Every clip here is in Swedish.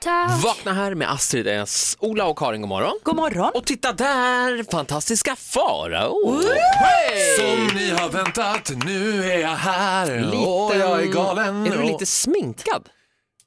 tack. Vakna här med Astrid eh, S, Ola och Karin, god morgon. God morgon. Och titta där, fantastiska Farao! Hey! Som ni har väntat, nu är jag här och jag är galen. Är du och- lite sminkad?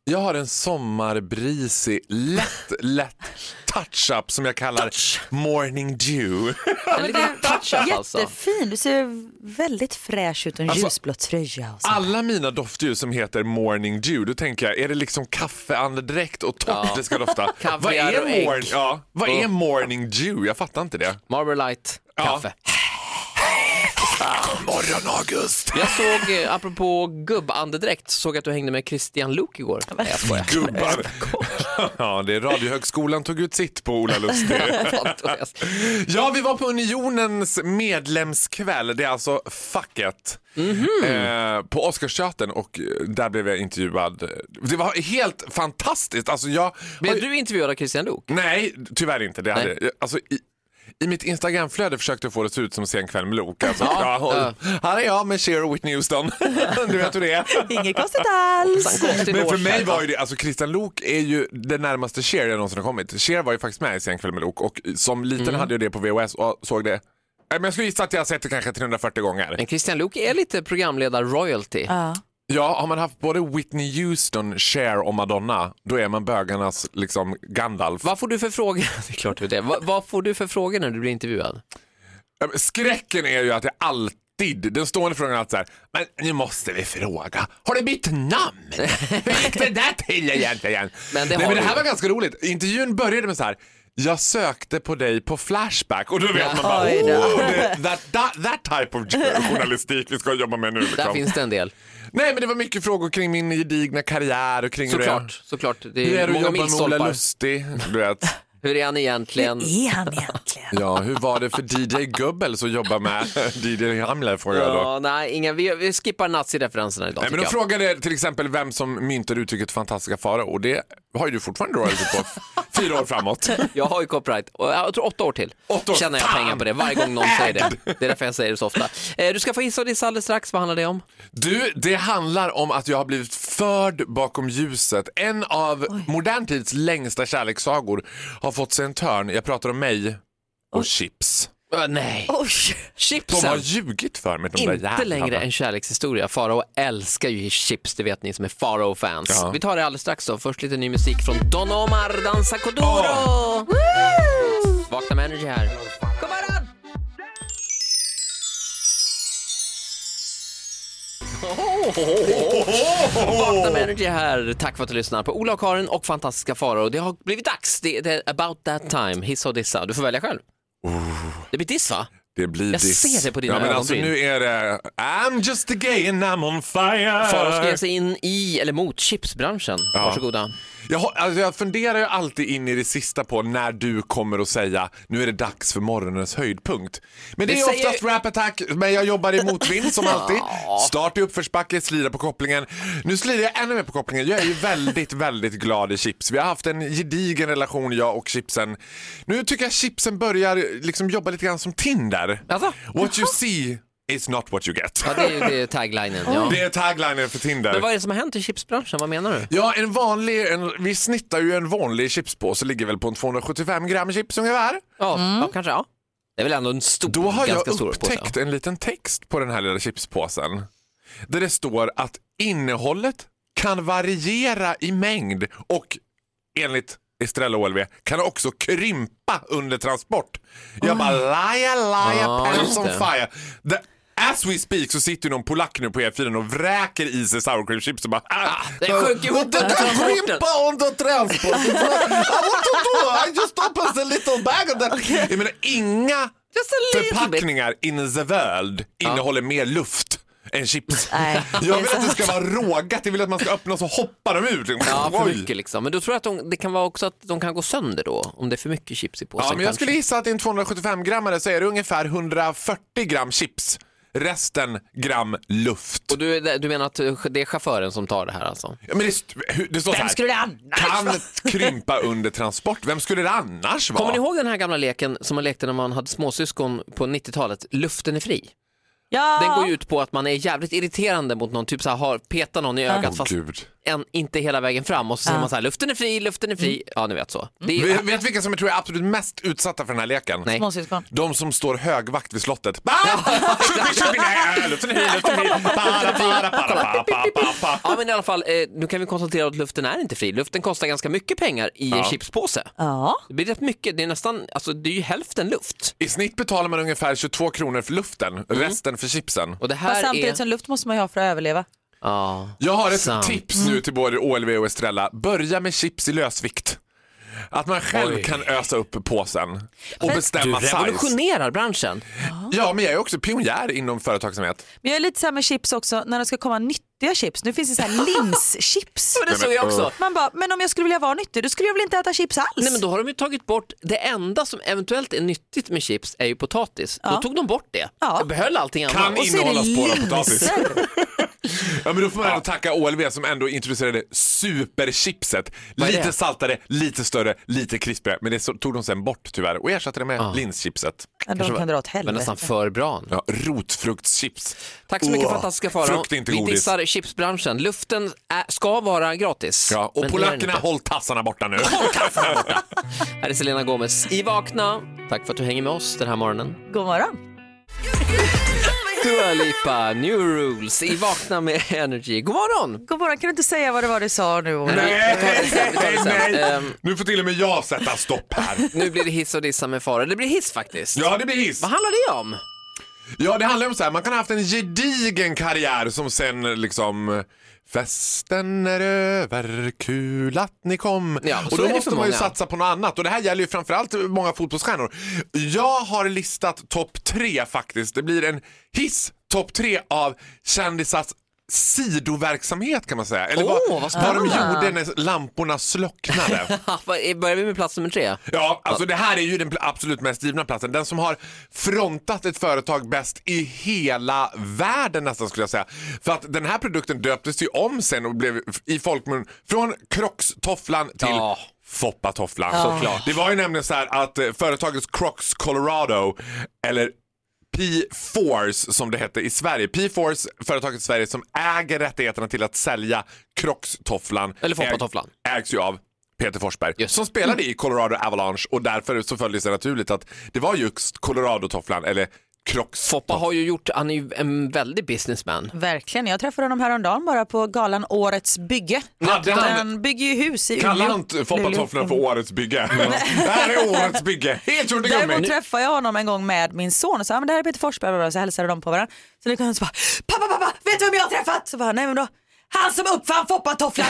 Jag har en sommarbrisig, lätt, lätt touch-up som jag kallar morning dew. En liten touch-up alltså. Jättefin. Du ser väldigt fräsch ut och en Alltså, ljusblått tröja. Ah, Och så. Alla mina doftljus som heter morning dew, då tänker jag, är det liksom kaffeandedräkt och torrt det ska dofta? vad Kaviar och är, ägg. morning, ja, vad är Och- morning dew? Jag fattar inte det. Marble light, Ja. kaffe. Morgon August! Jag såg, eh, apropå gubbandedräkt, såg jag att du hängde med Christian Luuk igår. Nej, jag skojar. Gubbar. ja, det är Radiohögskolan tog ut sitt på Ola Lustig. Fantastiskt. Ja, vi var på Unionens medlemskväll. Det är alltså facket. Eh, på Oscarsteatern och eh, där blev jag intervjuad. Det var helt fantastiskt. Alltså jag... har Blev ju- du intervjuad av Christian Luuk? Nej, tyvärr inte. Det hade... alltså, i... I mitt Instagramflöde försökte jag få det att se ut som en sen kväll med Luuk. Alltså, Ja, ja, och- Här är jag med Cher och Whitney Houston. du vet hur det är. Inget konstigt alls. Konstigt Men för år mig sedan. var ju det, alltså Christian Lok är ju det närmaste Cher jag någonsin har kommit. Cher var ju faktiskt med i Sen kväll med Lok och som liten hade jag det på VHS och såg det. Nej, Men jag skulle gissa att jag har sett det kanske 340 gånger. Men Christian Luuk är lite programledar-royalty. Ja. Ja, har man haft både Whitney Houston, Cher och Madonna, då är man bögarnas liksom Gandalf. Vad får du för frågor? Det är klart du det. Vad, vad får du för frågor när du blir intervjuad? Ja, men Skräcken är ju att jag alltid, den stående frågan är alltid så här, men nu måste vi fråga, har du bytt namn? Hur gick det där till egentligen? Men det Nej, har men det du. här var ganska roligt. Intervjun började med så här, jag sökte på dig på Flashback och då vet man bara, Oj då. oh, det, that, that, that type of journalistik vi ska jobba med nu. Där Liksom. finns det en del. Nej men det var mycket frågor kring min gedigna karriär och kring Såklart, såklart. hur Det det är, är hur är det många att jobba med Ola milstolpar. Lustig. Du vet. Hur är han egentligen? Är han egentligen? Ja, hur var det för DJ Gubbels att jobba med DJ Hamler får jag då. Ja, nej, ingen, vi, vi skippar nazireferenserna idag Nej, men tycker de jag. frågade till exempel vem som myntade uttrycket fantastiska fara och det har ju du fortfarande royalty på f- fyra år framåt. Jag har ju copyright, och jag tror åtta år till. Åtta år, Tjänar jag fan! pengar på det varje gång någon säger det. Det är därför jag säger det så ofta. Eh, Du ska få gissa och dissa alldeles strax, vad handlar det om? Du, det handlar om att jag har blivit förd bakom ljuset. En av modern tids längsta kärlekssagor har fått sig en törn. Jag pratar om mig och Chips. Eh, Nej. Oj. De har Chipsen, ljugit för mig, de där inte jävlarna. längre en kärlekshistoria. Farao älskar ju chips, det vet ni som är Farao-fans. Ja. Vi tar det alldeles strax då. Först lite ny musik från Don Omar, Danza Codoro. Vakna med Energy här. God morgon! Vakna med Energy här. Tack för att du lyssnar på Ola och Karin och fantastiska Farao. Det har blivit dags. Det, det är about that time. Hissa och dissa. Du får välja själv. Det blir diss va? Det blir Jag diss. ser det på dina ja, men alltså, ögonbryn. Nu är det I'm just a gay and I'm on fire. Farao ska ge sig in i, eller mot, chipsbranschen. Ja. Varsågoda. Jag, har- alltså jag funderar ju alltid in i det sista på när du kommer att säga nu är det dags för morgonens höjdpunkt. Men det, Det är säger- oftast rap attack, men jag jobbar i motvind som alltid. Start i uppförsbacke, slira på kopplingen. Nu slirar jag ännu mer på kopplingen. Jag är ju väldigt, väldigt glad i chips. Vi har haft en gedigen relation jag och chipsen. Nu tycker jag chipsen börjar liksom jobba lite grann som Tinder. Alltså? What you see is not what you get. Ja, det är ju det är taglinen. Ja. Det är taglinen för Tinder. Men vad är det som har hänt i chipsbranschen? Vad menar du? Ja, en vanlig, en, vi snittar ju en vanlig chipspåse ligger väl på en 275 gram chips ungefär. Ja, ja kanske ja. Det är väl ändå en stor, Då har ganska jag stor påse. upptäckt en liten text på den här lilla chipspåsen där det står att innehållet kan variera i mängd och enligt Estrella OLV kan också krympa under transport. Jag bara laja, laja, Ja, pants just on det. fire. The, as we speak så sitter ju någon polack nu på E4 och vräker i sig sour cream chips och bara ah, det sjönk ihop Det under kan transporten." krympa under transport. I want to do, I just opened a little bag of that. Jag menar inga Just a little bit. förpackningar in the world innehåller mer luft än chips. Äh. Nej. Jag vill att det ska vara rågat, jag vill att man ska öppna och så hoppar de ut. Ja, för Oj. mycket liksom. Men då tror jag att de, det kan vara också att de kan gå sönder då, om det är för mycket chips i påsen. Ja, men jag kanske. skulle gissa att i en 275-grammare så är det ungefär 140 gram chips, resten gram luft. Och du, är- du menar att eh, det är chauffören som tar det här alltså? Ja, Men det, st- hur- det står så Vem här. skulle det annars Kan vara? krympa under transport. Vem skulle det annars vara? Kommer ni ihåg den här gamla leken som man lekte när man hade småsyskon på 90-talet, Luften är fri? Ja. Den går ju ut på att man är jävligt irriterande mot någon, typ så här, har, petar någon i ögat Åh fast gud. en, inte hela vägen fram och så säger man så här, luften är fri, luften är fri. Mm. Ja, ni vet så. Det är, Vet, vet vilka som jag tror är absolut mest utsatta för den här leken? Nej. Småsyskon. De som står högvakt vid slottet. Ba! Tjupi, tjupi, nej, äh, luften är fri, luften är fri. Para, para, para, para, para, para, para. Ja men i alla fall, eh, nu kan vi konstatera att luften är inte fri. Luften kostar ganska mycket pengar i en chipspåse. Ja. Det blir rätt mycket, det är nästan, alltså det är ju hälften luft. I snitt betalar man ungefär 22 kronor för luften, Mm. resten för chipsen. Och det här Fast samtidigt är... som luft måste man ju ha för att överleva. Ja. Jag har ett Sant. tips nu till både OLV och Estrella. Börja med chips i lösvikt. Att man själv Oj. kan ösa upp påsen och Du bestämma size. revolutionerar branschen. Ja, men jag är också pionjär inom företagsamhet. Men jag är lite så här med chips också, när det ska komma nyttiga chips. Nu finns det så här linschips. Men det såg jag också. Man bara, men om jag skulle vilja vara nyttig då skulle jag väl inte äta chips alls? Nej men då har de ju tagit bort, det enda som eventuellt är nyttigt med chips är ju potatis. Då tog de bort det. Ja. De behöll allting annat. Kan och så är det innehålla spårad potatis. linser. Ja, men då får man ändå tacka OLV som ändå introducerade superchipset. är Lite det? saltare, lite större, lite krispigare. Men det så- tog de sen bort tyvärr och ersatte det med linschipset. Men de kan dra åt Men nästan helvete. för bra. Ja, rotfruktschips. Tack så mycket Åh, fantastiska Farao. Frukt är inte Vi godis. dissar chipsbranschen. Luften är, ska vara gratis. Ja, men och det är den polackerna, inte. håll tassarna borta nu. Här är Selena Gomez i Vakna. Tack för att du hänger med oss den här morgonen. God morgon. Dua Lipa, New Rules i Vakna med Energy. God morgon! God morgon, kan du inte säga vad det var du sa nu? Ola? Nej, vi tar det sen, vi tar det sen. nej. Ehm, Nu får till och med jag sätta stopp här. Nu blir det hiss och dissa med Farao. Det blir hiss faktiskt. Ja, det blir hiss. Vad handlar det om? Ja, det handlar om så här, man kan ha haft en gedigen karriär som sen liksom Festen är över, kul att ni kom. Ja, så och då är det måste för man ju många. satsa på något annat. Och det här gäller ju framförallt många fotbollsstjärnor. Jag har listat topp tre faktiskt. Det blir en hiss topp tre av kändisars sidoverksamhet kan man säga. Eller Åh, vad vad, vad de spännande. gjorde när lamporna slocknade. Ha, vad- eh, Börjar vi med plats nummer tre? Ja, alltså det här är ju den pl- absolut mest givna platsen. Den som har frontat ett företag bäst i hela världen nästan skulle jag säga. För att den här produkten döptes ju om sen och blev f- i folkmun från Crocs-tofflan till Ja. Foppatofflan. Såklart. Det var ju nämligen så här att eh, företaget Crocs Colorado, eller P-Force som det hette i Sverige. P-Force, företaget i Sverige som äger rättigheterna till att sälja Crocs-tofflan. Eller äg- Foppatofflan. ägs ju av Peter Forsberg Just. som spelade i Colorado Avalanche och därför så följde det sig naturligt att det var just Colorado-tofflan eller Crocs. Foppa har ju gjort, han är ju en väldig businessman. Verkligen, jag träffade honom häromdagen bara på galan Årets bygge. Hade han- Den bygger ju hus i Umeå. Kallar inte Foppatofflorna eh, för årets bygge. det här är årets bygge. Helt gjort i Däremot gummi. träffade jag honom en gång med min son och sa "Ja, men det här är Peter Forsberg och så hälsade de på varandra. Så nu kom han och så bara pappa pappa vet du vem jag har träffat? Så bara nej men då han som uppfann foppatofflan.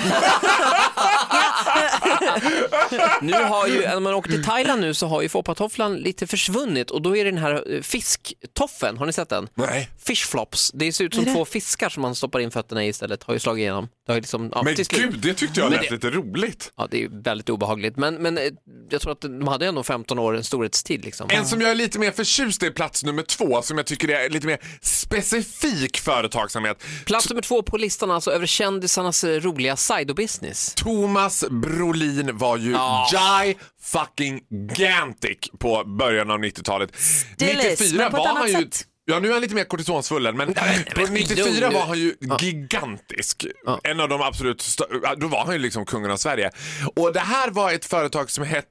Nu har ju, när man åker till Thailand nu så har ju Foppatofflan lite försvunnit och då är det den här eh, fisktoffen, har ni sett den? Nej. Fish flops, det ser ut som två fiskar som man stoppar in fötterna i istället, har ju slagit igenom. Det har ju liksom, ja, Men till slut. gud, det tyckte jag Men lät det- lite roligt. Ja, det är ju väldigt obehagligt, men, men eh, jag tror att de hade ändå 15 år en storhetstid. Liksom. En som jag är lite mer förtjust i är plats nummer två som jag tycker är lite mer specifik företagsamhet. Plats nummer två på listan alltså över kändisarnas eh, roliga side-business. Thomas Brolin var ju gi fucking gantic på början av 90-talet. Still is, men på ett var annat han ju... sätt. Ja, nu är han lite mer kortisonsvullen, men på men, lugn 94 nu. var han ju gigantisk. En av de absolut stö- ja, Då var han ju liksom kungen av Sverige. Och det här var ett företag som hette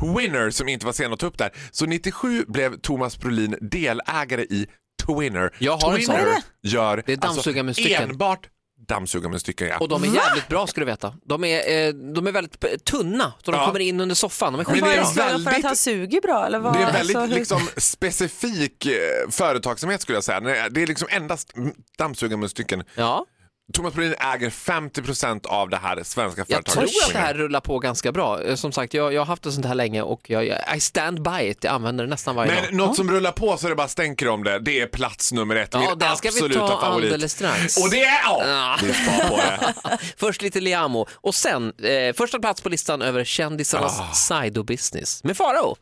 Twinner som inte var sen att ta upp där. Så 97 blev Thomas Brolin delägare i Twinner. Jag har en sån. Twinner Vad är gör Det är dammsugarmunstycken. Alltså, enbart dammsugarmunstycken, ja. Och de är jävligt bra ska du veta. De är, eh, de är väldigt p- tunna, så de Ja. kommer in under soffan. De är Men Vad det är skitbra. det väldigt... för att väldigt- han suger bra eller vad? Det är väldigt Alltså, hur- liksom, specifik eh, företagsamhet skulle jag säga. Nej, Det är liksom endast mm, dammsugarmunstycken. Ja, Thomas Brolin äger 50 av det här svenska jag tror företaget. att det här rullar på ganska bra. Eh, Som sagt, jag, jag har haft det sånt här länge och jag, jag, I stand by it. Jag använder det nästan varje dag. Men något som rullar på så det bara stänker om det, det är plats nummer ett. Ja, min den ska vi absoluta ta favorit. alldeles strax. Och det är... Ja. Ja, det är spa på det. Först lite Liamo och sen eh, första plats på listan över kändisarnas Ah. sidobusiness med Farao.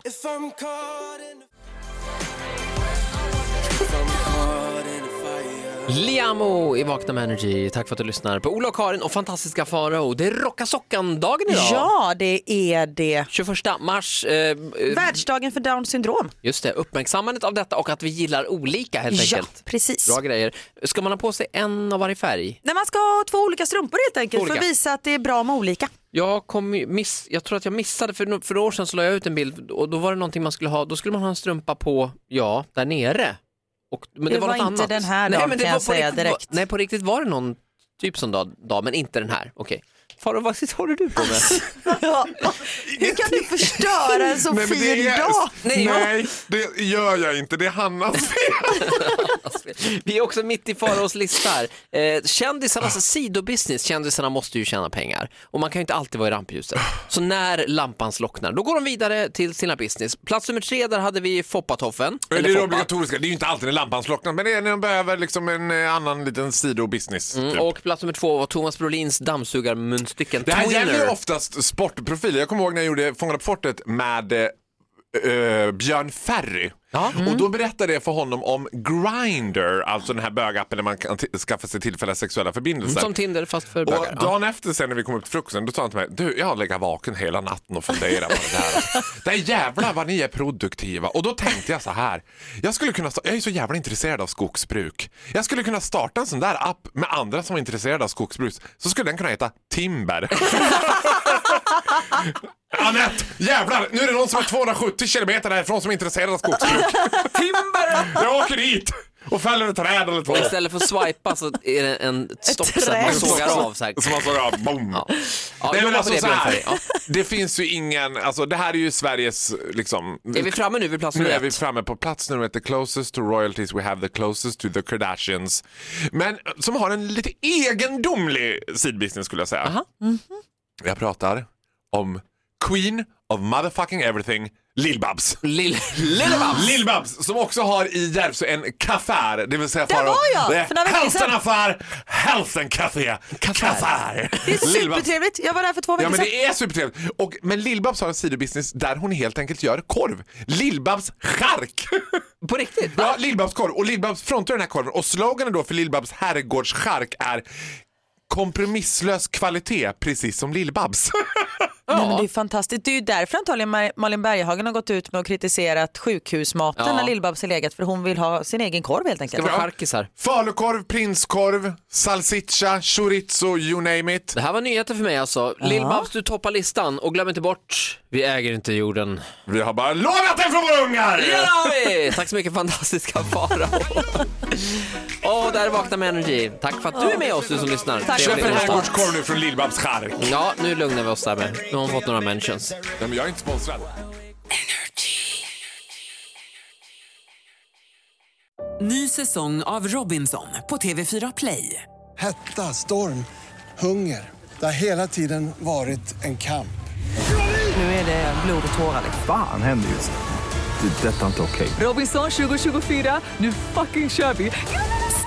Liamo i Vakna med Energy. Tack för att du lyssnar på Ola och Karin och fantastiska Farao. Det är Rocka Sockan-dagen idag. Ja, det är det. 21 mars. Eh, eh, Världsdagen för Downs syndrom. just det, uppmärksammandet av detta och att vi gillar olika helt Ja, enkelt. precis. Bra grejer. Ska man ha på sig en av varje färg? Nej, man ska ha två olika strumpor helt enkelt för Olika. att visa att det är bra med olika. Jag, kom, ju- miss, jag tror att jag missade, för, no- för några år sedan så la jag ut en bild och då var det någonting man skulle ha, då skulle man ha en strumpa på, ja, där nere. Och, men det, Det var, var något inte annat. den här dagen, kan var jag på säga riktigt, direkt. Var, nej, på riktigt var det någon typ sån dag, dag men inte den här. Okej. Farao, vad sitter- håller du på med? Ja. Hur kan du förstöra en så Nej, men fin det är- dag? Nej, jag- Nej, det gör jag inte. Det är Hannas fel. Vi är också mitt i Faraos lista här. Eh, kändisarnas sidobusiness, kändisarna måste ju tjäna pengar och man kan ju inte alltid vara i rampljuset. Så när lampan slocknar, då går de vidare till sina business. Plats nummer tre, där hade vi Foppatoffen. Det är det Foppa. obligatoriska. Det är ju inte alltid när lampan slocknar, men det är när de behöver liksom en eh, annan liten sidobusiness. typ. Mm, Och plats nummer två var Thomas Brolins dammsugarmunstycken Det här gäller ju Twinner. oftast sportprofiler. Jag kommer ihåg när jag gjorde Fångarna på fortet med eh, eh, Björn Ferry. Ja. Mm. Och då berättade jag för honom om Grindr, alltså den här bögappen där man kan t- skaffa sig tillfälliga sexuella förbindelser. Mm, Som Tinder fast för och bögar. Ja. dagen efter sen när vi kom upp till frukosten då sa han till mig, du jag har legat vaken hela natten och funderat på det här. det är jävlar vad ni är produktiva. Och då tänkte jag så här, jag skulle kunna, sta- jag är så jävla intresserad av skogsbruk. Jag skulle kunna starta en sån där app med andra som är intresserade av skogsbruk. Så skulle den kunna heta Timber. Anette, jävlar! Nu är det någon som är 270 kilometer härifrån som är intresserad av skogsbruk. Timber! Jag åker dit och fäller ett träd eller två. Och istället för att swipa så är det en stopp som träd. man sågar av så här. Som man sågar av, boom. Ja. Ja, Nej, jobba men på alltså, det, så Björn här, Ferry. Ja. det finns ju ingen, alltså det här är ju Sveriges liksom... Är vi framme nu vid plats nu nummer är vi ett? framme på plats nummer ett, the closest to royalties we have, the closest to the Kardashians. Men som har en lite egendomlig sidbusiness skulle jag säga. Mm-hmm. Aha. Jag pratar om Queen of motherfucking everything, Lill-Babs. Lill- Lill-Babs! Lill-Babs som också har i Järvsö en kaffär, det vill säga Där var jag, det är för några veckor hälften sedan. affär, hälften kafé, kaffär. Det är Lill-Babs. supertrevligt. Jag var där för två Ja veckor men sedan. det är supertrevligt. Och, men Lill-Babs har en sidobusiness där hon helt enkelt gör korv. Lill-Babs chark! På riktigt? ja, Lill-Babs korv. Och Lill-Babs frontar den här korven. Och sloganen då för Lill-Babs herrgårdschark är kompromisslös kvalitet, precis som Lill-Babs. Nej, men det är fantastiskt. Det är ju därför antagligen Mar- Malin Berghagen har gått ut med och kritiserat sjukhusmaten Ja. när Lill-Babs har legat för hon vill ha sin egen korv helt Det enkelt. var charkisar. Falukorv, prinskorv, salsiccia, chorizo, you name it. Det här var nyheter för mig alltså. Lill-Babs, du toppar listan och glöm inte bort, vi äger inte jorden. Vi har bara lånat den från våra ungar! Det har vi! Tack så mycket fantastiska Farao. Åh, där är Vakna med Energy. Tack för att du är med oss, du som lyssnar. Tack. Trevlig Köp en onsdag. herrgårdskorv nu från Lill-Babs chark. Ja, nu lugnar vi oss där med. Nu har hon fått några mentions. Nej men jag är inte sponsrad. Ny säsong av Robinson på TV4 Play. Hetta, storm, hunger. Det har hela tiden varit en kamp. Nu är det blod och tårar. fan händer just nu? Det. är Detta är inte okej. Robinson 2024, nu fucking kör vi!